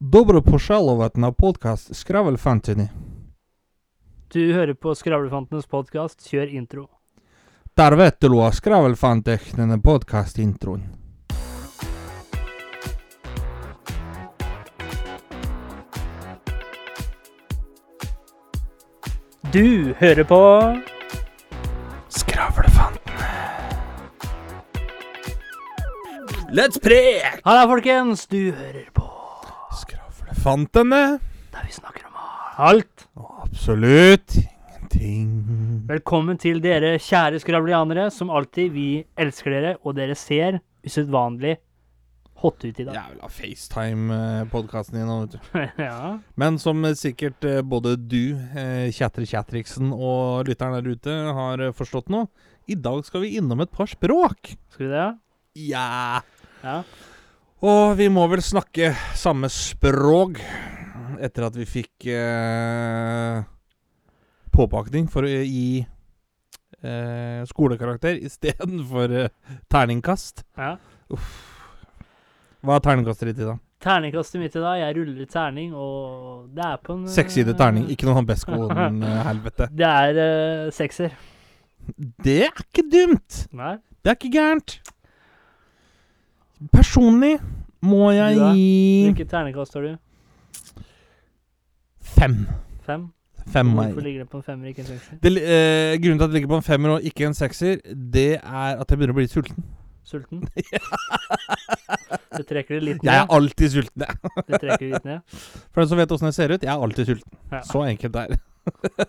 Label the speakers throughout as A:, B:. A: Добро пожаловать на podkast Skravlefantini,
B: Du hører på Skravlefantenes podkast, kjør intro.
A: der vettulua Skravlefantehnen podcast-introen.
B: Du hører på
A: Skravlefantene. Let's prek!
B: Halla, folkens! Du hører på
A: Skravlefantene.
B: der vi snakker om alt.
A: Absolutt ingenting.
B: Velkommen til dere kjære skravlianere. Som alltid, vi elsker dere, og dere ser usedvanlig hotte ut i dag.
A: Jævla FaceTime-podkasten din nå, vet du.
B: Ja.
A: Men som eh, sikkert eh, både du, eh, Kjatre Kjatriksen og lytteren der ute har eh, forstått nå, i dag skal vi innom et par språk.
B: Skal vi det?
A: Ja.
B: Ja.
A: Og vi må vel snakke samme språk etter at vi fikk eh, påpakning for å gi eh, skolekarakter istedenfor eh, terningkast.
B: ja.
A: Hva er terningkastet ditt i dag?
B: Terningkastet mitt i dag. Jeg ruller terning, og det er på en eh,
A: Sekssidet terning. Ikke noe sånn Beskolen-helvete.
B: Det er eh, sekser.
A: Det er ikke dumt!
B: Nei.
A: Det er ikke gærent. Personlig må jeg
B: Du da?
A: gi
B: Hvilket terningkast har du?
A: fem.
B: Fem?
A: Fem må jeg gi.
B: Hvorfor ligger det på en femmer, ikke en sekser?
A: Det, eh, grunnen til at det ligger på en femmer og ikke en sekser, det er at jeg begynner å bli sulten.
B: Sulten? Det trekker det litt
A: Jeg er
B: ned.
A: alltid sulten, jeg.
B: Det trekker det litt ned.
A: For den som vet åssen jeg ser ut, jeg er alltid sulten.
B: Ja.
A: Så enkelt er det.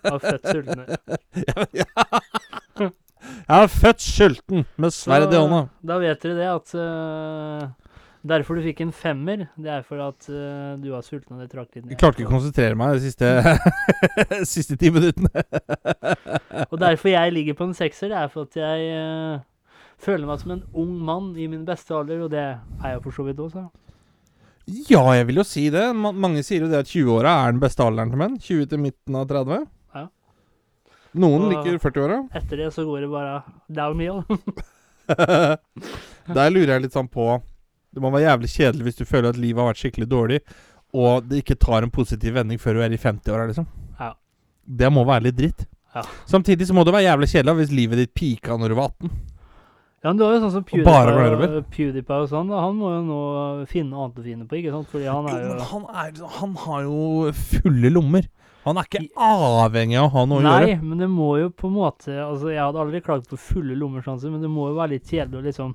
B: Av født sultne.
A: Jeg er født sulten med sverd i
B: Så-
A: hånda.
B: Da vet dere det at eh, Derfor du fikk en femmer, det er for at eh, du var sulten og det trakk litt ned.
A: Jeg klarte ikke å konsentrere meg de siste, siste ti minuttene.
B: Og derfor jeg ligger på en sekser, det er for at jeg eh, føler meg som en ung mann i min beste alder, og det er jeg for så vidt også.
A: Ja, jeg vil jo si det. Ma mange sier jo det at 20-åra er den beste alderen til menn. 20 til midten av 30.
B: Ja.
A: Noen
B: Og-
A: liker 40-åra.
B: Etter det så går det bare downhill.
A: Der lurer jeg litt sånn på Det må være jævlig kjedelig hvis du føler at livet har vært skikkelig dårlig, og det ikke tar en positiv vending før du er i 50-åra, liksom.
B: Ja.
A: Det må være litt dritt.
B: Ja.
A: Samtidig så må det være jævlig kjedelig hvis livet ditt pika når du var 18.
B: Ja, men det var jo sånn som
A: Og bare går
B: PewDiePie,
A: nedover.
B: og- PewDiePie og sånn, da. han må jo nå finne annet å finne på, ikke sant? Fordi han er jo
A: han, har jo fulle lommer. Han er ikke avhengig av å ha noe å
B: Nei,
A: gjøre.
B: men det må jo på en måte Altså, jeg hadde aldri klaget på fulle lommersjanser, men det må jo være litt kjedelig å liksom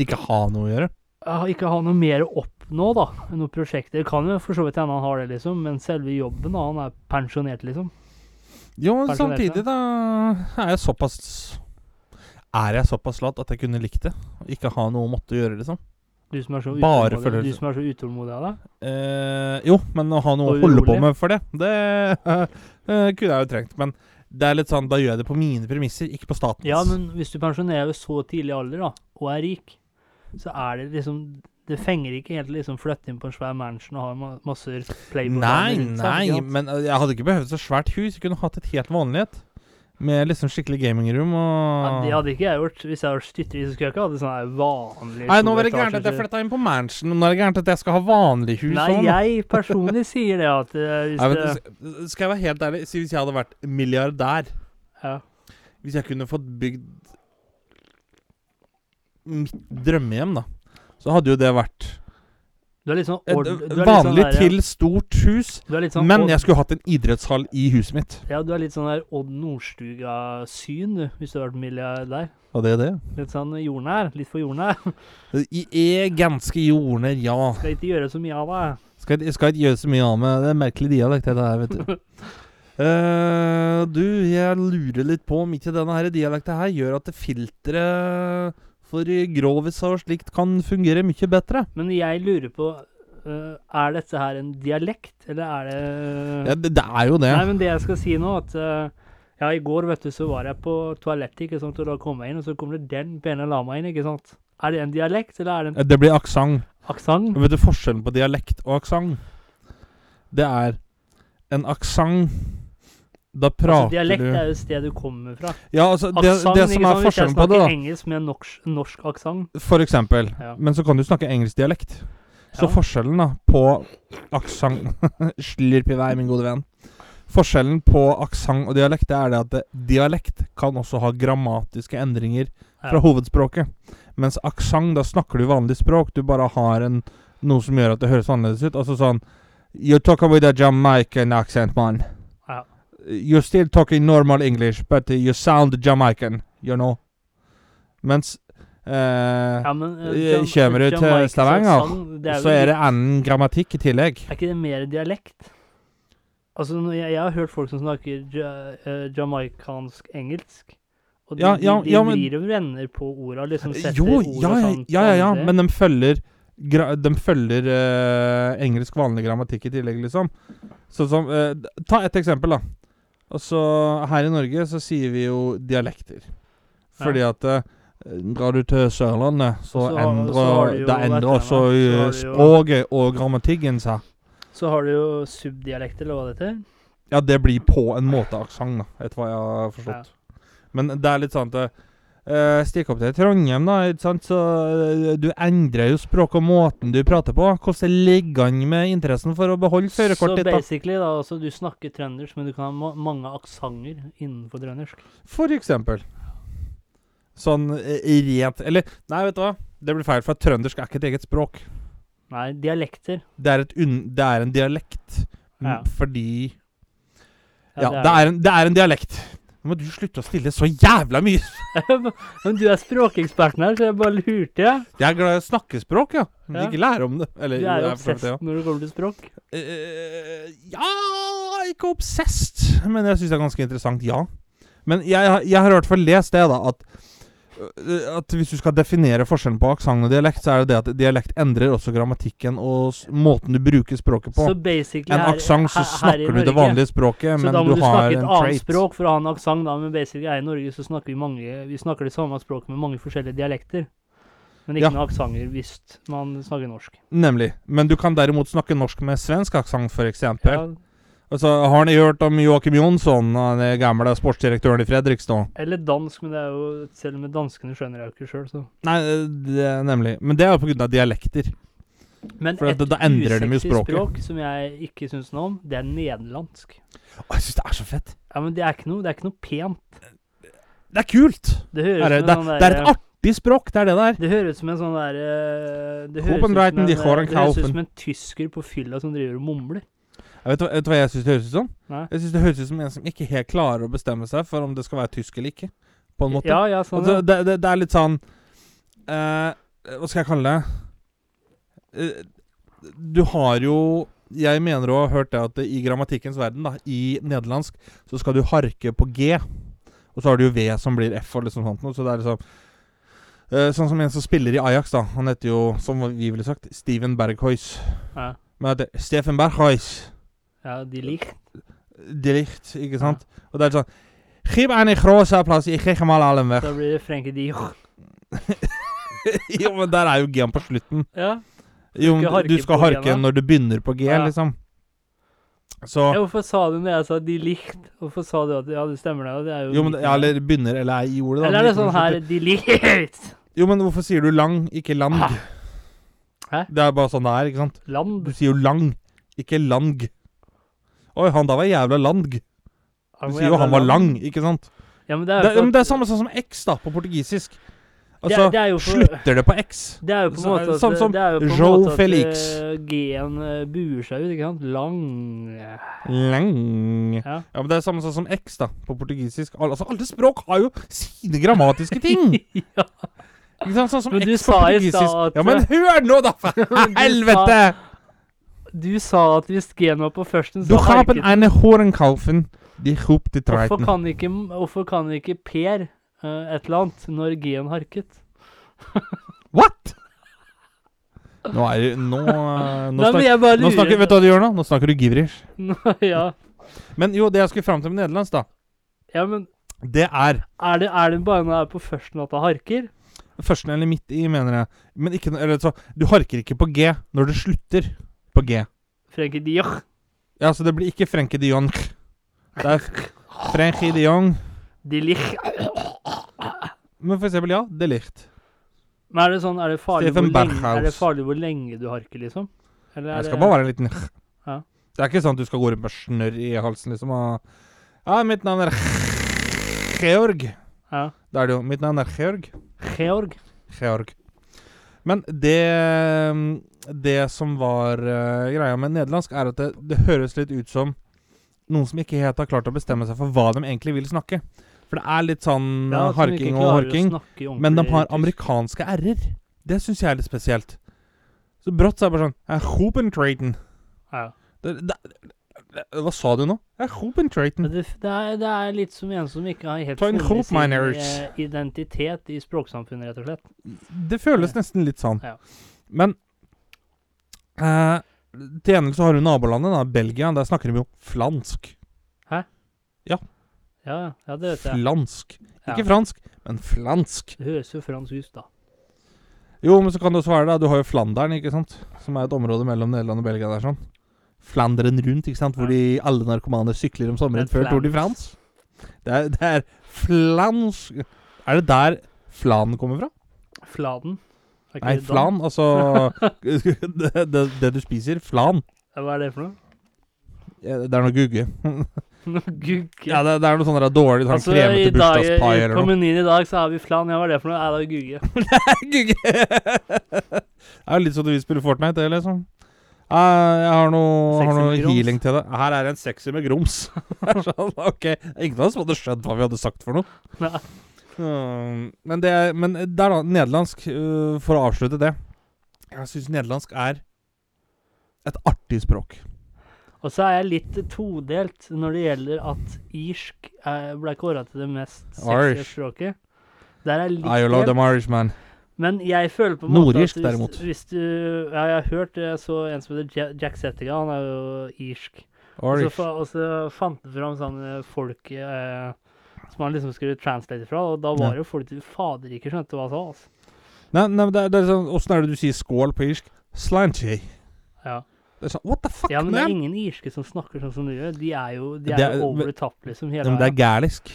A: Ikke ha noe å gjøre.
B: ah, ikke ha noe mer å oppnå, da, enn noe prosjekt. Det kan jo for så vidt hende han har det, liksom, men selve jobben, da, han er pensjonert, liksom.
A: Jo, men
B: Pensjonert,
A: samtidig, da er jeg såpass Er jeg såpass lat at jeg kunne likt det? Ikke ha noe å måtte gjøre, liksom.
B: Du som er så
A: Bare liksom.
B: utålmodig,
A: følelser.
B: du som er så utålmodig av deg.
A: Eh, jo, men å ha noe
B: Og
A: å holde
B: urolig.
A: på med for det, det eh, eh, kunne jeg jo trengt. Men det er litt sånn, da gjør jeg det på mine premisser, ikke på statens.
B: Ja, men hvis du pensjonerer ved så tidlig alder, da, og er rik, så er det liksom det fenger ikke helt å liksom flytte inn på en svær mansion og ha ma- masse liksom, playboy
A: nei,
B: sånn,
A: nei, men eh, jeg hadde ikke behøvd så svært hus. Jeg kunne hatt et helt vanlig et. Med liksom skikkelig gamingrom
B: Ja,
A: og
B: det hadde ikke jeg gjort. Hvis jeg hadde vært stytteri, så skulle jeg ikke hatt det sånn her vanlig
A: Nei, nå var det
B: toetasjes-
A: gærent at jeg flytta inn på mansion. Nå er det gærent at jeg skal ha vanlig hus.
B: Nei,
A: også, nå.
B: jeg personlig sier det at eh, hvis
A: sånn, Nei, men,
B: det
A: s- Skal jeg være helt ærlig, si hvis jeg hadde vært milliardær
B: ja.
A: Hvis jeg kunne fått bygd mitt drømmehjem, da, så hadde jo det vært
B: Du er litt sånn
A: et
B: ord, du er litt sånn
A: vanlig
B: der,
A: til stort hus.
B: du er litt sånn
A: men
B: Odd-
A: jeg skulle hatt en idrettshall i huset mitt.
B: Ja, du er litt sånn der Odd Nordstuga-syn, du, hvis du hadde vært milliardær.
A: Og det er det.
B: Litt sånn jordnær. Litt for jordnær.
A: I er ganske jordnær, ja.
B: Skal ikke gjøre så mye av det.
A: Skal, jeg- skal ikke gjøre så mye av med det. er en Merkelig dialekt, det der, vet du. Eh, du, jeg lurer litt på om ikke denne her dialekten her gjør at det filteret for groviser og slikt kan fungere mye bedre.
B: Men jeg lurer på eh, Er dette her en dialekt, eller er det
A: Ja, det, det er jo det.
B: Nei, men det jeg skal si nå, at eh, ja, i går, vet du, så var jeg på toalettet, ikke sant, og da kom jeg inn, og så kom det den pene lama inn, ikke sant. Er det en dialekt, eller er det en
A: Det blir aksent.
B: aksent?
A: Vet du forskjellen på dialekt og aksent? Det er en aksent Da
B: Altså,
A: prater
B: dialekt
A: du
B: er jo et sted du kommer fra.
A: Ja, altså, det,
B: Aksent,
A: det som er
B: ikke sant, hvis jeg
A: forskjellen på det,
B: snakker
A: da
B: engelsk med en norsk, norsk aksent.
A: For eksempel.
B: Ja.
A: Men så kan du snakke engelsk dialekt. Så
B: Ja.
A: forskjellen da på aksent Slurp i vei, min gode venn. Forskjellen på aksent og dialekt det er det at det, dialekt kan også ha grammatiske endringer fra
B: Ja.
A: hovedspråket. Mens aksent, da snakker du vanlig språk. Du bare har en, noe som gjør at det høres annerledes ut. Altså sånn You talk with a Jamaican accent, man.
B: Ja.
A: You're still talking normal English, but you sound Jamaican, you know. Mens eh,
B: Ja, men, eh,
A: Eh,
B: Jam-
A: kommer du til
B: Jamaica
A: Stavanger, altså.
B: sang, det
A: så
B: vel
A: er det annen grammatikk i tillegg.
B: Er ikke det mer dialekt? Altså, når jeg, jeg har hørt folk som snakker ja, eh, jamaikansk engelsk. Og de,
A: Ja, ja,
B: de, de
A: ja, men-
B: vrir og vender på orda, liksom setter
A: Eh, Jo,
B: ord
A: ja,
B: og
A: ja,
B: sånt.
A: ja, ja, ja,
B: andre.
A: men de følger, gra de følger eh, engelsk vanlig grammatikk i tillegg, liksom. Sånn som eh, d- Ta et eksempel, da. Altså, her i Norge så sier vi jo dialekter. Fordi at eh, Drar du til Sørlandet, så,
B: Og så har-
A: endrer,
B: så har du jo
A: da endrer
B: veteranene.
A: også
B: Så
A: eh,
B: har du jo-
A: språket og grammatikken seg.
B: Så har du jo subdialekter, eller hva det heter.
A: Ja, det blir på en måte aksent, da, etter hva jeg har forstått. Men det er litt sånn at eh, Stikk opp til Trondheim, da, ikke sant, så eh, du endrer jo språk og måten du prater på. Hvordan ligger an med interessen for å beholde
B: Så
A: førerkortet ditt,
B: basically, da, altså, du snakker trøndersk, men du kan ha ma mange aksenter innenfor trøndersk.
A: da? For eksempel. Sånn eh, rent Eller, nei, vet du hva? Det blir feil, for at trøndersk er ikke et eget språk.
B: Nei, dialekter.
A: Det er, et unn, det er en dialekt m,
B: Ja.
A: fordi
B: Ja,
A: Ja, det er, en, det er en dialekt. Nå må du slutte å stille så jævla mye
B: Men du er språkeksperten her, så jeg bare lurte, jeg.
A: Jeg er glad i snakkespråk, ja. Men
B: Ja.
A: ikke lære om det. Eller,
B: Du
A: jo,
B: er
A: jeg
B: jo
A: er for så vidt
B: obsess
A: det, ja.
B: når det kommer til språk.
A: Eh, ja Ikke obsessed, men jeg syns det er ganske interessant, ja. Men jeg, har- jeg har i hvert fall lest det, da, at eh, at hvis du skal definere forskjellen på aksent og dialekt, så er det det at dialekt endrer også grammatikken og s måten du bruker språket på.
B: Så basically
A: en
B: her-
A: aksent så
B: her- her i
A: snakker du det
B: Norge-
A: vanlige språket,
B: Så
A: men
B: da må
A: du,
B: du,
A: har
B: snakke
A: en
B: et annet
A: trait.
B: språk for å ha en aksent, da. Men basically her i Norge så snakker vi mange Vi snakker det samme språket med mange forskjellige dialekter. Men
A: Ja.
B: ikke noen aksenter hvis man snakker norsk.
A: Nemlig. Men du kan derimot snakke norsk med svensk aksent, f.eks.
B: Ja,
A: Altså, har ni hørt om Joakim Jonsson, den gamle sportsdirektøren i Fredrikstad?
B: eller dansk, men det er jo Selv med danskene skjønner jeg jo ikke sjøl, så.
A: Nei, eh, det, nemlig. Men det er jo på grunn av dialekter.
B: Men
A: For
B: et
A: da- da endrer de jo
B: usexy
A: språket.
B: språk som jeg ikke syns noe om, det er nederlandsk.
A: Å, jeg syns det er så fett.
B: Ja, men det er ikke noe, det er ikke noe pent.
A: Det er kult!
B: Det
A: Det er,
B: høres ut
A: det,
B: som en
A: det
B: sånn
A: er
B: derre-
A: et artig språk, det er det der.
B: Det høres ut som en sånn der eh, Det høres ut som en,
A: Copenhagen, de har en
B: eh, det høres ut
A: Kaufen.
B: som en tysker på fylla som driver og mumler.
A: Jeg vet, du hva- vet du hva jeg syns det høres ut som?
B: Nei.
A: Jeg syns det høres ut som en som ikke helt klarer å bestemme seg for om det skal være tysk eller ikke. På en måte.
B: Ja, ja, sånn.
A: altså,
B: ja.
A: det, det, det er litt sånn eh, Hva skal jeg kalle det? Eh, du har jo Jeg mener å ha hørt det at i grammatikkens verden, da, i nederlandsk, så skal du harke på G. Og så har du jo V som blir F og liksom sånt noe, så det er liksom eh, Sånn som en som spiller i Ajax, da. Han heter jo, som vi ville sagt, Steven Berghuis.
B: ja.
A: Men han heter Steffen Berghuis.
B: ja, de likt.
A: Delikt, ikke sant? Og det er sånn Gib aan die grote applaus, ik geef hem al allen weg.
B: Da blir det Frenkie de Jong.
A: jo, men der er jo G-en på slutten.
B: Ja.
A: Jo,
B: skal
A: men
B: harke
A: du skal
B: på
A: harke
B: G-en, da.
A: når du begynner på G,
B: Ja.
A: liksom. Så
B: ja. Hvorfor sa du når jeg sa de likt? Hvorfor sa du at ja, det stemmer det? ja, Det er jo
A: Jo, men
B: like.
A: ja, eller begynner eller er i ordet, da.
B: Eller
A: men
B: er det
A: ikke
B: sånn
A: når du
B: her de likt?
A: slutter. Jo, men hvorfor sier du lang, ikke lang?
B: Hæ?
A: Det er bare sånn det er, ikke sant? Du
B: Land?
A: sier jo lang, ikke lang. Oi, han der var jævla lang. Du
B: må
A: sier jo
B: jævla
A: han var lang, ikke sant?
B: Ja, men det er
A: Det,
B: jo for
A: men
B: at-
A: det er samme sånn som X, da, på portugisisk.
B: det er-
A: Altså,
B: det er jo for-
A: slutter det på X?
B: Det er jo på en
A: Så-
B: måte at,
A: sånn som
B: det er jo på en
A: Joe
B: måte at,
A: Felix.
B: eh, G-en eh, buer seg ut, ikke sant? Lang
A: Lang.
B: Ja.
A: Ja, men Det er samme sånn som X da, på portugisisk. Al altså, Alle språk har jo sine grammatiske ting!
B: Ja.
A: Ikke sant? Sånn som
B: Men du
A: X på
B: sa i
A: portugisisk.
B: stad at-
A: Ja, men hør nå, da! For
B: Men du
A: helvete!
B: Du sa at hvis G-en var på førsten,
A: Du
B: så
A: har
B: harket
A: på ene horenkaufen, de hop til
B: Hvorfor
A: treiten.
B: kan ikke, hvorfor kan ikke Per eh, et eller annet når G-en harket?
A: What?! Nå er det Nå, eh, nå,
B: Nei, men
A: snakker,
B: jeg bare
A: nå snakker Vet du hva du gjør nå? Nå snakker du gibberish.
B: Nå- ja.
A: Men jo, det jeg skulle fram til med nederlandsk, da,
B: ja, men
A: det er
B: er det, er det bare når det er på førsten at det harker?
A: Førsten eller midt i, mener jeg. Men ikke Eller så Du harker ikke på G når du slutter på G.
B: Frenkie de Jong.
A: Ja, så det blir ikke Frenkie de Jong. Det er Frenkie de Jong.
B: De Ligt.
A: Men for eksempel, ja, det er likt.
B: Men er det sånn, er det farlig, hvor
A: Stefan
B: lenge,
A: Berghaus.
B: er det farlig hvor lenge du harker, liksom? Eller er
A: Det
B: det-
A: skal bare være en liten
B: Ja.
A: Det er ikke sånn at du skal gå rundt med snørr i halsen, liksom. Og, ja, mitt navn er Georg.
B: Ja.
A: Det er det jo. Mitt navn er Georg.
B: Georg.
A: Georg. Men det Det som var eh, greia med nederlandsk, er at det, det høres litt ut som noen som ikke helt har klart å bestemme seg for hva de egentlig vil snakke. For det er litt sånn
B: Ja,
A: eh,
B: som ikke
A: harking og
B: klarer å
A: horking.
B: snakke ordentlig
A: Men de har
B: tysk.
A: amerikanske r-er. Det syns jeg er litt spesielt. Så brått så er det bare sånn «Jeg er Hopencraten.
B: Ja.
A: Det, det, det, hva sa du nå? «Jeg er Hopencraten.
B: Men Det, det, er, det er litt som en som ikke har helt
A: Ta en
B: funnet
A: hop,
B: sin
A: miners.
B: eh, identitet i språksamfunnet, rett og slett.
A: Det føles
B: Ja.
A: nesten litt sånn.
B: Ja.
A: Men eh, til ene så har du nabolandet, da, Belgia. Der snakker de jo flansk.
B: Ja, ja, ja, det vet jeg.
A: Flansk.
B: Ja.
A: Ikke fransk, men flansk.
B: Det høres jo fransk ut, da.
A: Jo, men så kan det også være det. Du har jo Flandern, ikke sant? Som er et område mellom Nederland og Belgia der, sånn. Flandern rundt, ikke sant? Hvor de, alle narkomane sykler om sommeren
B: Det er
A: før Tour de France. Det er, det er flansk Er det der flan kommer fra?
B: Fladen. Er ikke
A: Nei,
B: det dan?
A: flan, altså det, det, det du spiser. Flan.
B: Ja, Hva er det for noe?
A: Eh, Det er noe gugge.
B: Noe gugge.
A: Ja, det, det er noe sånn der dårlig sånn
B: altså,
A: kremete
B: i, dag,
A: bursdagspai
B: i,
A: eller
B: på
A: noe.
B: menyen i dag så har vi flan. Ja, hva er det for noe? Ja, det er gugge.
A: Gugge! det er jo litt sånn at vi spiller Fortnite, det, liksom. Eh, jeg har noe, har
B: Sekser
A: noe
B: med grums.
A: healing til deg. Her er en sekser med grums. Det er sånn, ok, Ingen av oss hadde skjønt hva vi hadde sagt for noe.
B: Nei.
A: Mm, Men det er, men det er da nederlandsk, øh, for å avslutte det Jeg syns nederlandsk er et artig språk.
B: Og så er jeg litt todelt når det gjelder at irsk eh, ble kåra til det mest sexy
A: Irish.
B: språket. Der er jeg litt
A: I love them Irish, man.
B: Men jeg føler på en måte
A: Nordirsk,
B: at hvis,
A: derimot.
B: Hvis du, ja, jeg har hørt Jeg så en som heter Ja- Jack Settiga, han er jo irsk. Og så,
A: Irish.
B: fa- og så fant han fram sånne folk eh, som han liksom skulle translate fra, og da
A: Ja.
B: var det jo folk som fader ikke skjønte hva han sa. Altså.
A: Nei, nei, men det er, det er sånn, Åssen er det du sier skål på irsk? Slanty.
B: Ja.
A: Det er sånn, What the fuck,
B: ja, men det er
A: man?
B: ingen irske som snakker sånn som du gjør. De er jo, de
A: Det
B: er
A: er-
B: jo over
A: men-
B: the top, liksom.
A: Ja,
B: Hele
A: men det
B: veien.
A: er gælisk.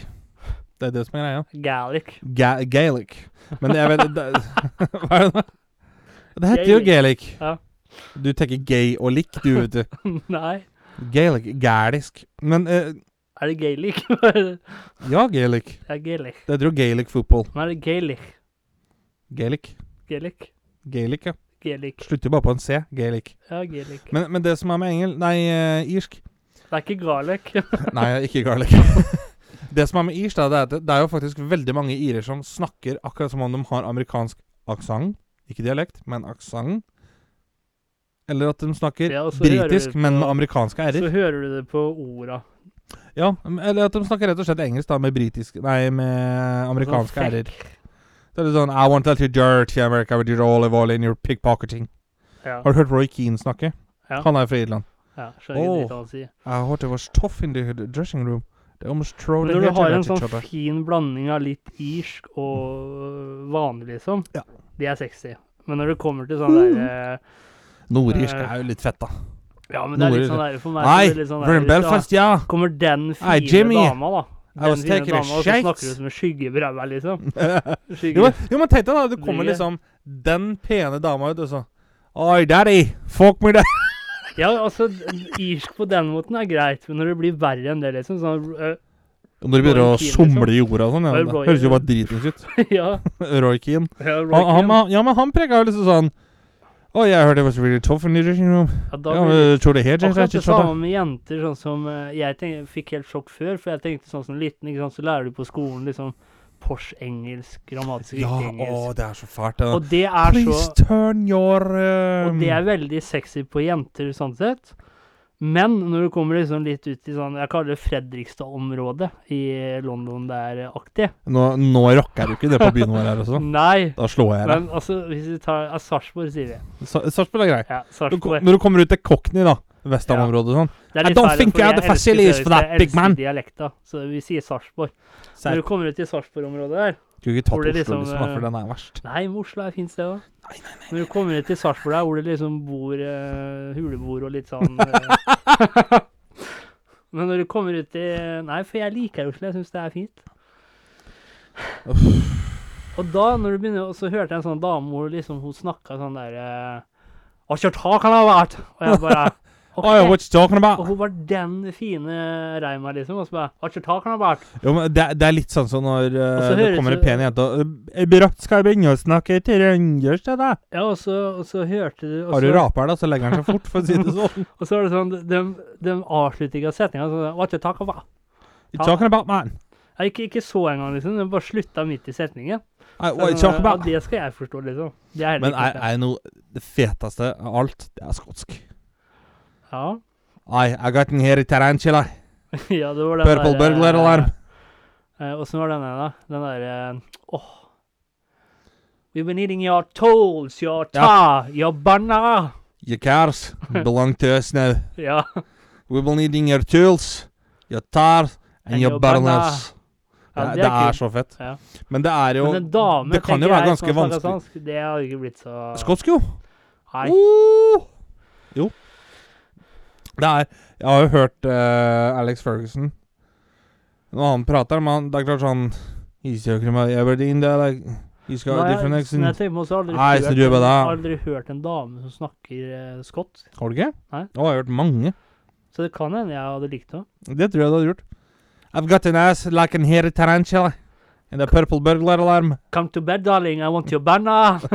A: Det er det som er greia.
B: Gaelic.
A: Ga Gaelic. Men jeg vet det, Hva er det da? Det heter jo gaelic.
B: Ja.
A: Du tenker gay og lik, du, vet du.
B: Nei.
A: Gaelic. Gælisk. Men eh,
B: Er det gaelic? det
A: ja, gaelic.
B: er gaelic.
A: Det heter jo gaelic football.
B: Men er det gaelic?
A: Gaelic.
B: Gaelic?
A: Gaelic, ja.
B: Gaelic.
A: Slutter jo bare på en C. Gaelic.
B: Ja, gaelic.
A: Men, men det som er med engel Nei, eh, irsk.
B: det er ikke garlic.
A: Nei, ikke garlic. det som er med irsk, da, det er at det- det er jo faktisk veldig mange irer som snakker akkurat som om de har amerikansk aksent. Ikke dialekt, men aksent. Eller at de snakker
B: Ja, og så hører
A: britisk,
B: du
A: men
B: på-
A: med amerikanske r-er.
B: Så hører du det på orda.
A: Ja, eller at de snakker rett og slett engelsk, da, med britisk Nei, med amerikanske
B: Sånn
A: r-er.
B: fuck.
A: Så er det sånn I want to you dirty America with your olive oil in your pickpocketing.
B: Ja.
A: Har du hørt Roy Keane snakke?
B: Ja.
A: Han er fra Irland.
B: ja skjønner ikke
A: Åh.
B: dritt hva han sier.
A: I heard it was tough in the dressing room. They almost throw
B: Men
A: their
B: når du
A: head
B: har en
A: at each
B: sånn
A: other.
B: fin blanding av litt irsk og vanlig, liksom,
A: Ja.
B: det er sexy. Men når det kommer til sånn derre
A: Nordirsk
B: Eh.
A: er jo litt fett, da.
B: Ja, men det er litt
A: Nord-
B: sånn derre for meg så
A: Nei,
B: er det litt sånn
A: we're
B: der,
A: in
B: hvis du har-
A: Belfast, ja!
B: Kommer den
A: Hey,
B: fine
A: Jimmy,
B: dama, da. Den
A: was
B: fine
A: taking a
B: dama, og så
A: shake.
B: snakker du som en skygge i bræva, liksom.
A: jo,
B: Skygge.
A: men- jo, men tenk deg da, det kommer
B: Ligger.
A: liksom den pene dama ut, og så Oi, daddy! Fuck me, daddy!
B: Ja, altså, irsk på den måten er greit, men når det blir verre enn det, liksom, sånn øh,
A: Når de begynner
B: Roy
A: å
B: Keane,
A: somle i jorda og sånn, ja,
B: Roy-
A: det
B: Roy-
A: høres jo bare dritings ut.
B: Ja.
A: Roy Keane.
B: ja,
A: Han, han,
B: Roy Keane.
A: han, ja, men han preka jo liksom sånn Oh, yeah, I heard it was really tough in the dressing room.
B: Ja, da
A: Ja,
B: blir det
A: men tror det her, James,
B: Akkurat
A: er
B: det
A: ikke sånn,
B: samme med jenter, sånn som eh, Jeg tenk, fikk helt sjokk før, for jeg tenkte sånn som liten, ikke sant, så lærer du på skolen liksom Porsch-engelsk,
A: da.
B: grammatisk
A: Ja,
B: riktig
A: å,
B: engelsk.
A: det er så fælt, det. da.
B: Og det er så
A: Please turn your um,
B: Og det er veldig sexy på jenter, sånn sett. Men når du kommer liksom litt ut i sånn Jeg kaller det Fredrikstad-området i London der eh, aktig.
A: nå, nå rocker du ikke det på byen vår her også.
B: Nei.
A: Sånn. Da slår jeg deg.
B: Men altså, hvis vi tar ja, Sarpsborg, sier vi.
A: Sa- Sarpsborg er grei.
B: Ja,
A: Du kom-
B: Sarpsborg.
A: Når du kommer ut til Cockney, da. Vestham-området og sånn.
B: Det er
A: I
B: litt
A: don't
B: feil,
A: think
B: for
A: you have
B: jeg
A: the
B: elsker
A: facilities
B: Sarpsborg,
A: for that,
B: jeg
A: big man.
B: elsker dialekta, så vi sier Sarpsborg.
A: Så
B: Når
A: jeg
B: du kommer ut i Sarpsborg-området der
A: skulle ikke tatt
B: Hvor det
A: Oslo, liksom,
B: liksom,
A: da, for
B: eh,
A: den er verst.
B: Nei, men Oslo er et fint sted òg. Når du kommer ned til Sarpsborg der, hvor det liksom bor eh, huleboer og litt sånn eh. Men når du kommer ut i Nei, for jeg liker Oslo. Jeg syns det er fint. Og da, når du begynner, og så hørte jeg en sånn dame hvor liksom, hun snakka sånn der eh, What your talk on about? Og jeg bare
A: Oh, yeah,
B: OK.
A: what you talking
B: Og
A: about?
B: hun var den fine reima, liksom. Og så bare What your talk on about?
A: Jo, men det, er- det er litt sånn som når eh,
B: så
A: det
B: høres
A: kommer en
B: det-
A: pen jente og eh, Brått skal jeg begynne å snakke trøndersk til deg.
B: Ja, og så, og så hørte du og
A: Har du
B: så-
A: raper deg, så legger han seg fort, for å si det sånn.
B: Og så er det sånn De, de avslutter ikke setninga sånn What you talk about?
A: You talking about, man?
B: Jeg, ikke, ikke så engang, liksom. De bare slutta midt i setningen.
A: Hey,
B: Så
A: what you
B: jeg sånn,
A: talking about?
B: Ja, det skal jeg forstå, liksom. Det er heller
A: Men
B: ikke
A: er,
B: jeg,
A: er noe det feteste av alt, det er skotsk.
B: Ja.
A: I, I got in here tarantula.
B: ja, det var den
A: Purple
B: der,
A: burglar
B: eh,
A: alarm.
B: eh, Åssen var den der, da? Den derre Åh. We've been eating your tolls, your ta, your banna.
A: Your cars belong to us now.
B: Ja.
A: We will need your tools, your tar and
B: And
A: your
B: your banana.
A: burners. Det,
B: ja
A: er- det er
B: kult.
A: så fett.
B: Ja.
A: Men det er jo
B: Men en dame
A: det kan jo
B: tenker
A: være
B: jeg,
A: ganske
B: som snakker
A: vanskelig.
B: Spansk, det har ikke blitt så
A: Skotsk, jo.
B: Nei.
A: Oh! Jo. Det er Jeg har jo hørt eh, Alex Ferguson Når han prater, men han- det er klart sånn He's talking about Aberdeen, det er like He's got a
B: Nei,
A: different
B: men jeg
A: accent.
B: tenker meg også aldri,
A: Nei, så
B: hørt,
A: du er bare
B: aldri hørt en dame som snakker eh, skotsk.
A: Har du ikke?
B: Nei.
A: Å, jeg har hørt mange.
B: Så det kan hende jeg hadde likt det.
A: Det tror jeg du hadde gjort. I've got an ass like an hairy tarantula. And a purple burglar alarm.
B: Come to bed, darling. I want your banner.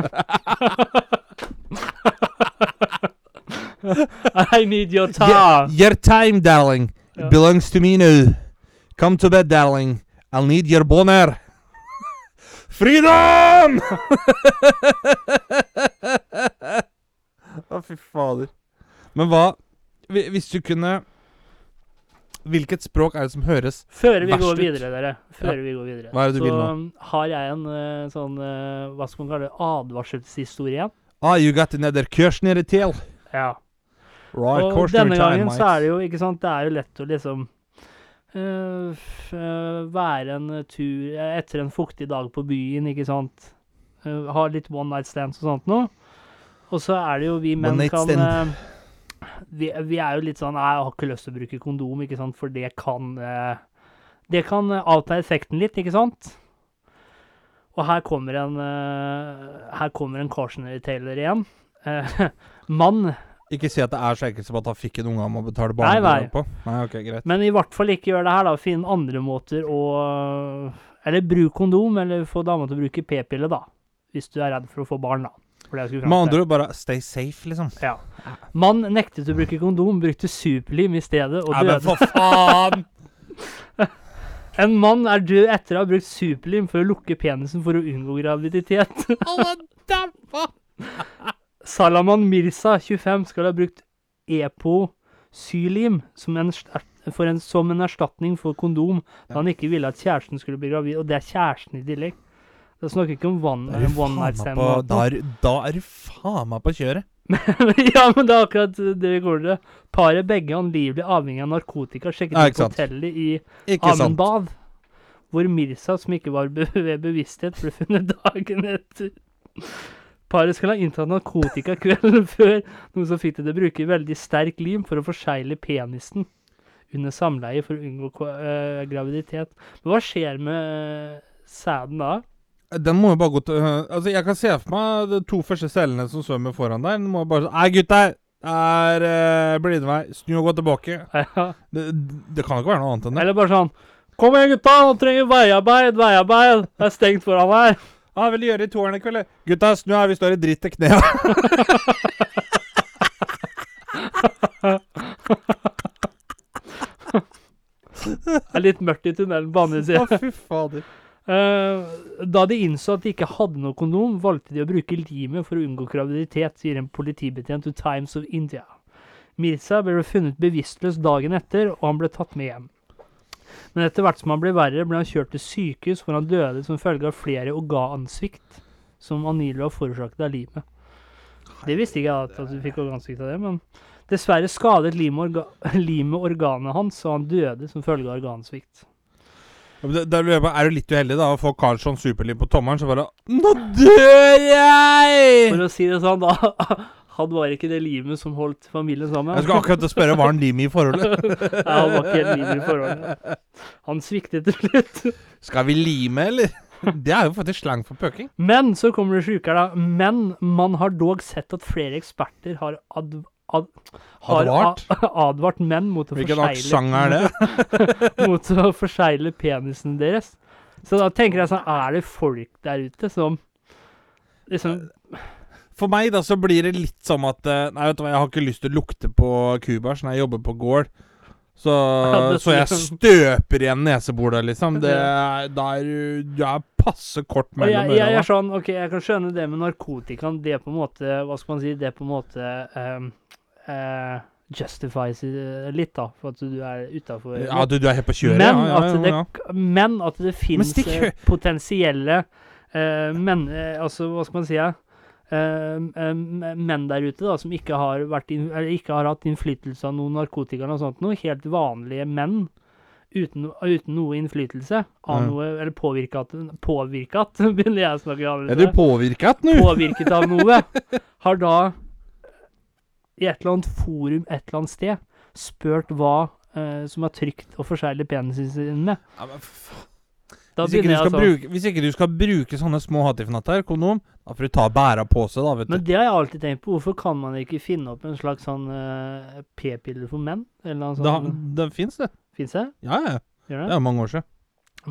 B: I need your tar.
A: Your time, darling,
B: Ja.
A: belongs to me now. Come to bed, darling. I'll need your boner. Freedom! Å, fy fader. Men hva hvi- Hvis du kunne Hvilket språk er det som høres?
B: Før vi
A: Verst
B: går
A: ut.
B: videre, dere. Før
A: Ja.
B: vi går videre.
A: Hva er det du
B: så
A: vil nå?
B: um, har jeg en eh, sånn eh, Hva skal man kalle det? Advarselshistorie igjen.
A: Ah, you got another curse near the tail.
B: Ja.
A: Right,
B: Og
A: curse near
B: denne
A: time,
B: gangen
A: mate.
B: så er det jo ikke sant, det er jo lett å liksom eh, f- eh, være en tur eh, etter en fuktig dag på byen, ikke sant. Eh, ha litt one night stands og sånt noe. Og så er det jo vi menn
A: night
B: kan
A: stand.
B: eh, vi, vi er jo litt sånn Nei, jeg har ikke lyst til å bruke kondom, ikke sant, for det kan eh, Det kan eh, avta effekten litt, ikke sant? Og her kommer en eh, Her kommer en cautionary tailor igjen. Eh, mann
A: Ikke si at det er så enkelt som at han fikk en unge han må betale
B: Nei,
A: barnebidrag på. Nei, ok, greit.
B: Men i hvert fall ikke gjør det her, da. Finn andre måter å Eller bruk kondom, eller få dama til å bruke p-pille, da. Hvis du er redd for å få barn, da. For det jeg skulle
A: Med
B: fram til.
A: andre ord bare stay safe, liksom.
B: Ja. Mann nektet å bruke kondom, brukte superlim i stedet og
A: Nei, men
B: døde.
A: for faen!
B: En mann er død etter å ha brukt superlim for å lukke penisen for å unngå graviditet.
A: Alle dæmpa!
B: Salaman Mirza, 25, skal ha brukt E epo-sylim som en, st- for en, som en erstatning for kondom, da han ikke ville at kjæresten skulle bli gravid. Og det er kjæresten i tillegg. Da snakker vi ikke om one,
A: Da er du
B: en one
A: faen meg
B: night stand.
A: på,
B: eller
A: da
B: noe.
A: er, da er du faen meg på kjøret.
B: ja, men det er akkurat det vi går til. Paret begge angivelig avhengig av narkotika sjekket
A: Ja,
B: ut
A: ikke
B: på
A: sant.
B: hotellet i
A: Ikke sant?
B: Amenbad, hvor Mirza, som ikke var be ved bevissthet, ble funnet dagen etter. Paret skal ha inntatt narkotika kvelden før, noe som fikk det til å bruke veldig sterk lim for å forsegle penisen under samleie for å unngå ko- eh, graviditet. Men hva skjer med eh, sæden da?
A: Den må jo bare gå til øh, Altså, jeg kan se for meg de to første cellene som svømmer foran der. Den må bare sånn Hei, gutter! Er uh, blidvei. Snu og gå tilbake.
B: Ja.
A: Det, det kan jo ikke være noe annet enn det.
B: Eller bare sånn Kom igjen, gutta! Nå trenger vi veiarbeid! Veiarbeid! Det er stengt foran her!
A: Hva vil du gjøre i toeren i kveld? eller? Gutta, snu her, vi står i dritt til knea.
B: Det er litt mørkt i tunnelen på andre siden.
A: Å, fy fader.
B: Eh, da de innså at de ikke hadde noe kondom, valgte de å bruke limet for å unngå graviditet, sier en politibetjent to Times of India. Mirza ble funnet bevisstløs dagen etter, og han ble tatt med hjem. Men etter hvert som han ble verre, ble han kjørt til sykehus, hvor han døde som følge av flere organsvikt som angivelig var forårsaket av limet. Det visste ikke jeg at, at du fikk organsvikt av det, men dessverre skadet limet orga limet organet hans, og han døde som følge av organsvikt.
A: Ja, men Da, da lurer jeg på, Er du litt uheldig da å få Karlsson superlim på tommelen, så bare Nå dør jeg!
B: For å si det sånn, da Han var ikke det limet som holdt familien sammen.
A: Jeg skulle akkurat til å spørre var han lim i forholdet.
B: Nei, han var ikke helt limet i forholdet. Han sviktet til slutt.
A: Skal vi lime, eller? Det er jo faktisk slang for pøking.
B: Men så kommer det sjukere, da. Men man har dog sett at flere eksperter har ad... ad har
A: Advart?
B: a- advart menn mot å,
A: Hvilken
B: forsegle,
A: aksent er det?
B: mot å forsegle penisen deres. Så da tenker jeg sånn, er det folk der ute som liksom
A: For meg da så blir det litt som at eh, Nei, vet du hva, jeg har ikke lyst til å lukte på kubæsj når jeg jobber på gård. Så,
B: Ja, det-
A: så jeg støper igjen neseboret, liksom. Det er, da er du Du er passe kort
B: Og jeg,
A: mellom
B: jeg er
A: ørene.
B: sånn, ok, jeg kan skjønne det med narkotikaen. Det er på en måte, hva skal man si, det er på en måte um, eh, justifies eh, litt, da, for at du er utafor.
A: Ja, du, du er helt på kjøret.
B: men,
A: ja, ja,
B: at
A: ja,
B: det,
A: ja.
B: men at det finnes
A: stikk-
B: eh, potensielle eh, menn eh, Altså, hva skal man si? ja? Eh, eh, menn der ute da, som ikke har, vært inn- eller ikke har hatt innflytelse av noen narkotika eller noe sånt noe. Helt vanlige menn uten, uten noe innflytelse av
A: Mm.
B: noe Eller påvirket Påvirket, begynner jeg å snakke
A: Er du
B: annerledes.
A: påvirket nå?
B: Påvirket av noe. Har da i et eller annet forum et eller annet sted spurt hva eh, som er trygt å forsegle penisen sin med.
A: Ja, men faen.
B: Da
A: hvis, ikke du
B: begynner jeg
A: skal
B: sånn.
A: bruke, hvis ikke du skal bruke sånne små hattifnatter, kondom, da får du ta bæra på seg, da, vet
B: Men
A: du.
B: det har jeg alltid tenkt på. Hvorfor kan man ikke finne opp en slags sånn eh, p-piller for menn? Eller noe
A: Da,
B: sånt?
A: det fins, det.
B: Fins det?
A: Ja, ja.
B: Gjør
A: Det
B: det?
A: er jo mange år siden.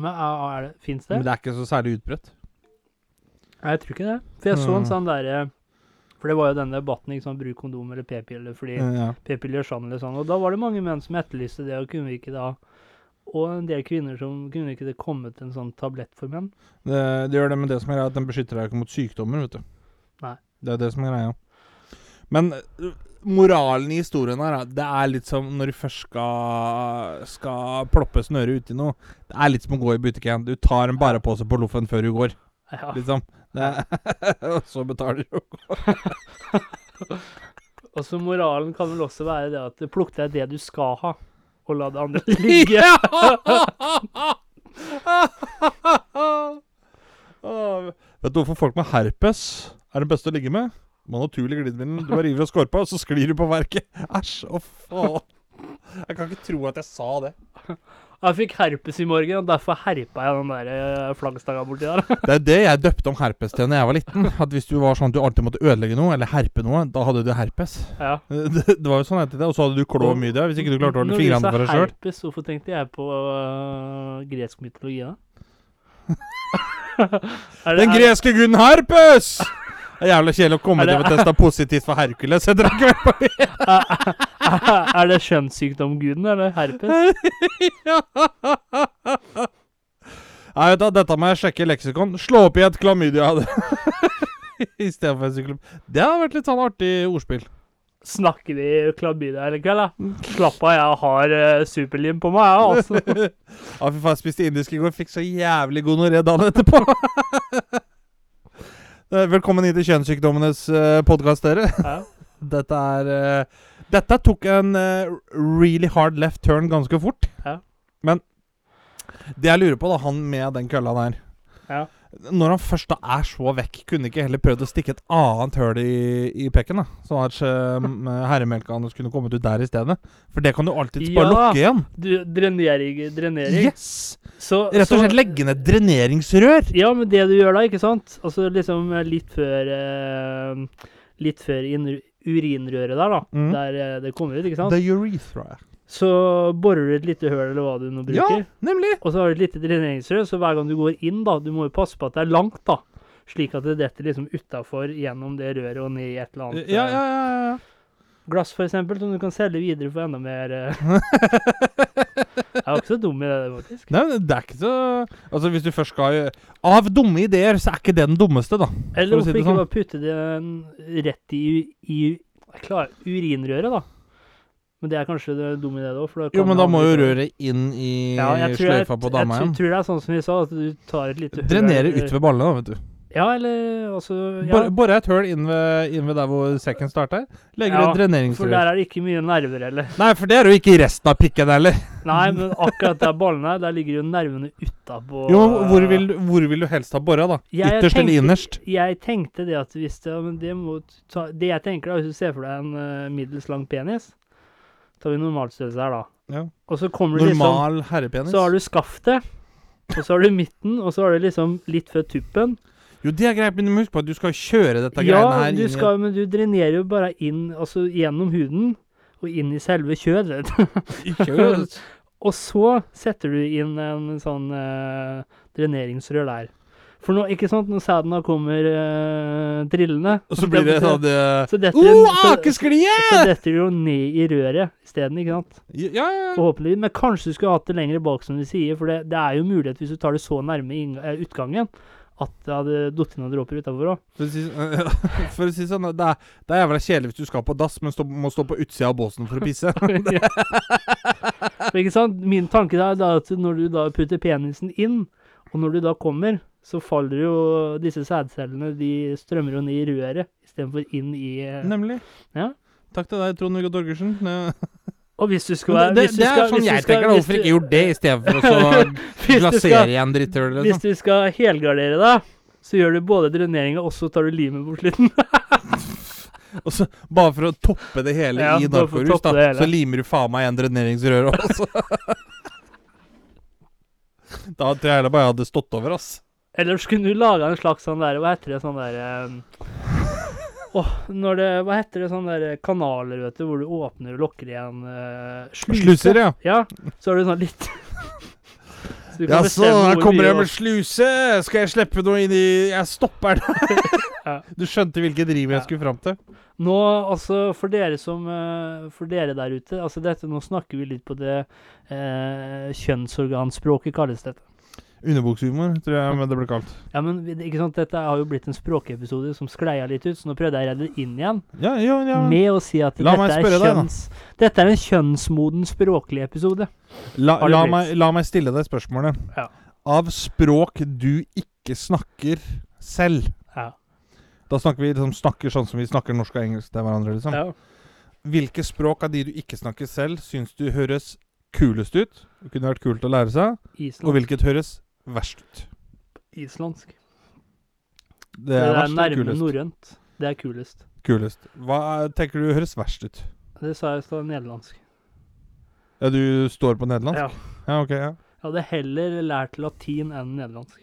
B: Men er, er det? Fins det?
A: Men det er ikke så særlig utbredt.
B: Nei, jeg tror ikke det. For jeg så en
A: Mm.
B: sånn derre For det var jo denne debatten, ikke sant. Bruk kondom eller p-piller fordi
A: Eh, Ja.
B: p-piller gjør sånn eller sånn. Og da var det mange menn som etterlyste det, og kunne ikke da Og en del kvinner som kunne ikke det kommet en sånn tablett for menn.
A: Det, det gjør det med det som er greia, at den beskytter deg ikke mot sykdommer, vet du.
B: Nei.
A: Det er det som er greia. Men øh, moralen i historien her, er- det er litt som når du først skal, skal ploppe snøret uti noe. Det er litt som å gå i butikken. Du tar en bærepose på loffen før du går,
B: Ja.
A: liksom. Det, og så betaler du.
B: Og så moralen kan vel også være det at plukk deg det du skal ha, og la det andre ligge.
A: Åh, Vet du hvorfor folk med herpes er den beste å ligge med? Med naturlig glidemiddel. Du bare river av skorpa, og så sklir du på verket. Æsj. Å, faen. Jeg kan ikke tro at jeg sa det.
B: Jeg fikk herpes i morgen, og derfor herpa jeg den der eh, flaggstanga borti der.
A: Det er det jeg døpte om herpes til da jeg var liten. At hvis du var sånn at du alltid måtte ødelegge noe, eller herpe noe, da hadde du herpes.
B: Ja.
A: Det, det var jo sånn etter det. Og så hadde du klå mye der, hvis ikke du klarte å holde
B: Når du sa
A: fingrene for deg sjøl.
B: herpes, hvorfor tenkte jeg på øh, gresk mytologi da? er
A: Den
B: er,
A: greske guden herpes! Det er jævlig kjedelig å komme
B: Er det-
A: til å teste positivt for Hercules etter en kveld på
B: er det skjønnssykdomguden, eller herpes?
A: Nei, vet du, hva, dette må jeg sjekke i leksikon. Slå opp i et klamydia. Istedenfor en syklop. Det har vært litt sånn artig ordspill.
B: Snakker vi klamydia eller kveld, da? Slapp av, jeg har eh, superlim på meg, jeg, altså.
A: ja, fy faen, jeg spiste indisk i går. Fikk så jævlig gonoré dagen etterpå. Eh, Velkommen hit til Kjønnssykdommenes podkast, dere.
B: Ja.
A: Dette er eh, Dette tok en eh, really hard left turn ganske fort.
B: Ja.
A: Men det jeg lurer på, da, han med den kølla der
B: Ja.
A: Når han først da er så vekk, kunne ikke heller prøvd å stikke et annet høl i, i pekken? da Sånn at eh, herremelka hans kunne kommet ut der i stedet? For det kan du alltids
B: Ja.
A: bare lukke igjen.
B: Du, drenering, drenering.
A: Yes!
B: Så,
A: Rett
B: så-
A: og slett legge ned dreneringsrør.
B: Ja, men det du gjør da, ikke sant? Altså liksom eh, litt før eh, Litt før inn- urinrøret der, da.
A: Mm.
B: Der eh, det kommer ut, ikke sant?
A: The urethra.
B: Så borer du et lite høl, eller hva du nå
A: Ja,
B: bruker.
A: nemlig.
B: Og så har du et lite dreneringsrør, så hver gang du går inn, da Du må jo passe på at det er langt, da. Slik at det detter liksom utafor gjennom det røret og ned i et eller annet
A: Ja, ja,
B: eh,
A: ja. ja.
B: glass, for eksempel, som du kan selge videre for enda mer eh. Jeg var ikke så dum i det, faktisk.
A: Nei, men det er ikke så Altså, hvis du først skal Av dumme ideer, så er ikke det den dummeste, da.
B: Eller
A: For å si
B: hvorfor
A: det
B: ikke
A: sånn.
B: bare putte det rett i, i jeg klarer, urinrøret, da? Men det er kanskje det dumme i det òg, for da
A: Jo, men da
B: han
A: må jo
B: bli-
A: røret inn i
B: ja, jeg tror jeg,
A: sløyfa på dama
B: Jeg
A: igjen.
B: tror- tror det er sånn som vi sa, at du tar et lite høl-
A: Drenere utover ballene, da, vet du.
B: Ja, eller altså ja,
A: Bor- Bore et høl inn ved, inn ved der hvor sekken starter. Legger
B: Ja,
A: et
B: For
A: dreneringsrør.
B: der er det ikke mye nerver heller.
A: Nei, for det er jo ikke i resten av pikken heller.
B: Nei, men akkurat der ballen er, der ligger jo nervene utapå.
A: Jo, men hvor vil, hvor vil du helst ha bora, da?
B: Jeg
A: Ytterst eller
B: tenker-
A: innerst?
B: Jeg tenkte det at hvis det, ja, men det, må ta, det jeg tenker da, hvis du ser for deg en eh, middels lang penis Tar vi normalstørrelse her, da.
A: Ja.
B: Og så kommer du liksom
A: Normal herrepenis?
B: Så har du skaftet, Og så har du midten, og så har du liksom litt før tuppen.
A: Jo, det er greit, men du må huske på at du skal kjøre dette greiene
B: Ja,
A: her
B: du
A: inn i-
B: skal, men du drenerer jo bare inn, altså gjennom huden, og inn i selve kjødet.
A: Ikke-
B: Og så setter du inn en sånn eh, dreneringsrør der. For nå, ikke sant, når sæden da kommer eh, drillende
A: Og så blir det sånn eh,
B: Så detter
A: Oh,
B: den- så-
A: akesklie!
B: så detter det jo ned i røret isteden, ikke sant?
A: Ja, ja, ja.
B: Forhåpentligvis. Men kanskje du skulle hatt det lenger bak, som du sier. For det, det er jo mulighet, hvis du tar det så nærme innga- eh, utgangen, at det hadde datt noen dråper utafor òg.
A: For å si, for å si sånn, det er, det er jævla kjedelig hvis du skal på dass, men stå, må stå på utsida av båsen for å pisse.
B: For ikke sant? Min tanke da er da at når du da putter penisen inn, og når du da kommer, så faller jo disse sædcellene De strømmer jo ned i røret istedenfor inn i eh,
A: Nemlig.
B: Ja.
A: Takk til deg, Trond-Viggo Torgersen. Eh,
B: Og hvis du skal
A: men
B: være
A: Det,
B: hvis du
A: det er
B: skal-
A: sånn
B: hvis du
A: jeg
B: skal-
A: tenker. da.
B: hvis
A: Hvorfor
B: du-
A: ikke gjort det istedenfor å så
B: hvis du
A: glasere
B: skal-
A: igjen dritthølet?
B: Hvis
A: Liksom.
B: du skal helgardere deg, så gjør du både dreneringa og så tar du limet på slutten.
A: Og så, bare for å toppe det hele
B: Ja,
A: i
B: bare for å
A: narkorus,
B: toppe
A: da,
B: det hele.
A: så limer du faen meg igjen dreneringsrøret også. da tror jeg heller bare jeg hadde stått over, ass.
B: Ellers kunne du laga en slags sånn der Hva heter det sånn der eh, Åh, når det Hva heter det sånn der kanaler, vet du, hvor du åpner og lukker igjen eh, sluse.
A: Sluser, ja.
B: Ja, så har du sånn litt Så du kan
A: Ja, så
B: bestemme
A: her
B: hvor
A: kommer
B: mye
A: jeg
B: å-
A: med sluse! Skal jeg slippe noe inn i Jeg stopper den!
B: Ja.
A: Du skjønte hvilket driv
B: Ja.
A: jeg skulle fram til?
B: Nå, altså, for dere som eh, For dere der ute, altså dette Nå snakker vi litt på det eh, kjønnsorganspråket, kalles dette.
A: Underbukshumor, tror jeg men det ble kalt.
B: Ja, men vi- ikke sant, dette har jo blitt en språkepisode som skleia litt ut, så nå prøvde jeg å redde det inn igjen
A: Ja, ja, ja.
B: med å si at
A: La meg
B: dette, er
A: spørre deg, da.
B: kjønns, dette er en kjønnsmoden språklig episode.
A: La,
B: Har det
A: la,
B: blitt?
A: meg, la meg stille deg spørsmålet.
B: Ja.
A: Av språk du ikke snakker selv
B: Ja.
A: Da snakker vi liksom, snakker sånn som vi snakker norsk og engelsk til hverandre. liksom.
B: ja.
A: Hvilke språk av de du ikke snakker selv, syns du høres kulest ut? Det kunne vært kult å lære seg. Og
B: Island,
A: hvilket høres verst ut?
B: islandsk.
A: Det
B: Det
A: er,
B: er,
A: verst og
B: nærme
A: kulest.
B: norrønt. Det er kulest.
A: kulest. Hva er, tenker du høres verst ut?
B: Det sa jeg i stad, nederlandsk.
A: Ja, du står på nederlandsk?
B: Ja.
A: Ja, ok, ja.
B: Jeg hadde heller lært latin enn nederlandsk.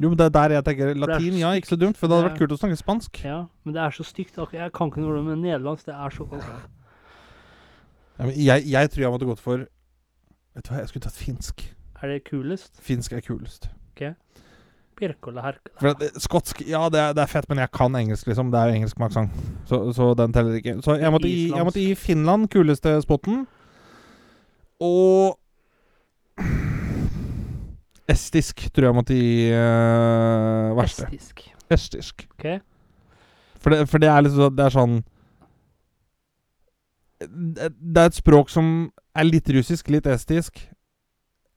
A: Jo, men det er der jeg tenker
B: er
A: latin.
B: så
A: Ja, ikke så dumt, for det hadde
B: Ja.
A: vært kult å snakke spansk.
B: Ja, men det er så stygt. ak- Jeg kan ikke noe med nederlandsk. Det er så
A: Ja, men jeg, jeg tror jeg måtte gått for Vet du hva, jeg skulle tatt finsk.
B: Er det kulest?
A: Finsk er kulest.
B: Pirkola herkola.
A: For at, eh, skotsk Ja, det er, det er fett, men jeg kan engelsk, liksom. Det er jo engelsk med aksent, så, så den teller ikke. Så jeg måtte, gi, jeg måtte gi Finland kuleste spotten. Og Estisk tror jeg måtte gi eh, verste.
B: Estisk.
A: Estisk.
B: Ok.
A: For det, for det er liksom sånn- Det er sånn det, det er et språk som er litt russisk, litt estisk.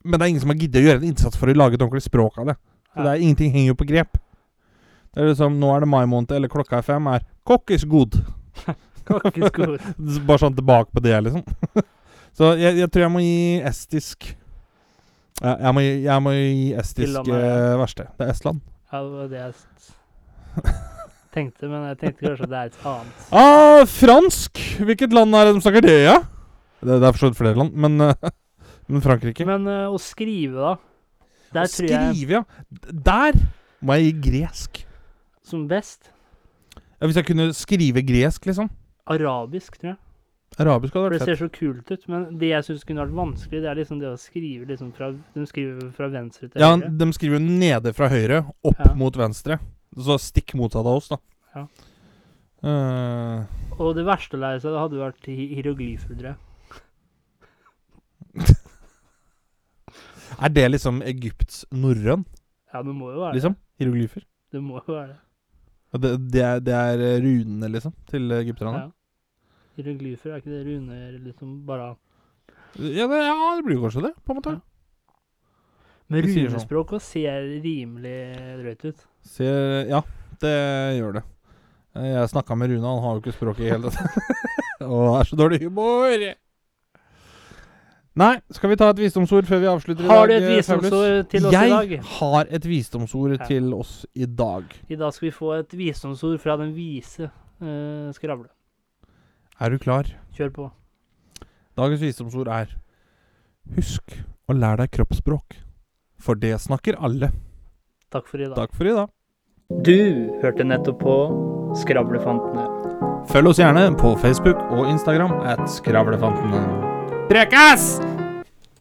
A: Men det er ingen som har giddet å gjøre en innsats for å lage et ordentlig språk av det. Så det
B: Ja.
A: er ingenting henger jo på grep. Det er liksom Nå er det mai måned, eller klokka er fem, er Kokk is good.
B: Kakeskor.
A: Bare sånn tilbake på det, liksom. Så jeg, jeg tror jeg må gi estisk ja, jeg, må, gi- jeg må gi estisk
B: Finland er-
A: eh, verste. Det er Estland.
B: Ja, det var det jeg s- tenkte, men jeg tenkte kanskje at det er et annet.
A: Ah, fransk! Hvilket land er det de snakker det, ja? Det, det er for så vidt flere land, men, eh, men Frankrike.
B: Men eh, å skrive, da. Der
A: Å
B: tror jeg
A: skrive, ja. D- Der må jeg gi gresk.
B: som best
A: Ja, hvis jeg kunne skrive gresk, liksom.
B: arabisk, tror jeg.
A: Arabisk hadde
B: For det
A: vært fett.
B: ser så kult ut. Men det jeg syns kunne vært vanskelig, det er liksom det å skrive liksom fra De skriver fra venstre til
A: Ja,
B: høyre.
A: de skriver jo nede fra høyre, opp
B: Ja.
A: mot venstre. Så stikk motsatt av oss, da.
B: Ja.
A: Eh,
B: Og det verste å lære seg, det hadde vært hi- hieroglyfer, tror jeg.
A: er det liksom Egypts norrøn,
B: Ah, Ja, det må jo være
A: liksom? Hieroglyfer?
B: det. Det må jo være det.
A: Og Det, det, er, det er eh, runene, liksom, til egypterne?
B: Ja. Hieroglyfer, er ikke det runer liksom bare
A: Ja. det, ja, det blir jo kanskje det, på en måte.
B: Ja. Men
A: Det sier sånn.
B: runespråk også ser rimelig drøyt ut.
A: Ser, ja, det gjør det. Eh, Jeg snakka med Rune, han har jo ikke språket i hele tatt. Og er så dårlig humor! Nei, skal vi ta et visdomsord før vi avslutter i
B: Har du
A: dag,
B: et
A: eh, Paulus?
B: visdomsord til oss i dag?
A: Jeg har et visdomsord
B: Ja.
A: til oss i dag.
B: I dag skal vi få et visdomsord fra den vise eh, skravle.
A: Er du klar?
B: Kjør på.
A: Dagens visdomsord er Husk å lære deg kroppsspråk. For det snakker alle.
B: Takk for i dag.
A: Takk for i dag.
B: Du hørte nettopp på Skravlefantene.
A: Følg oss gjerne på Facebook og Instagram at Skravlefantene. Prekas!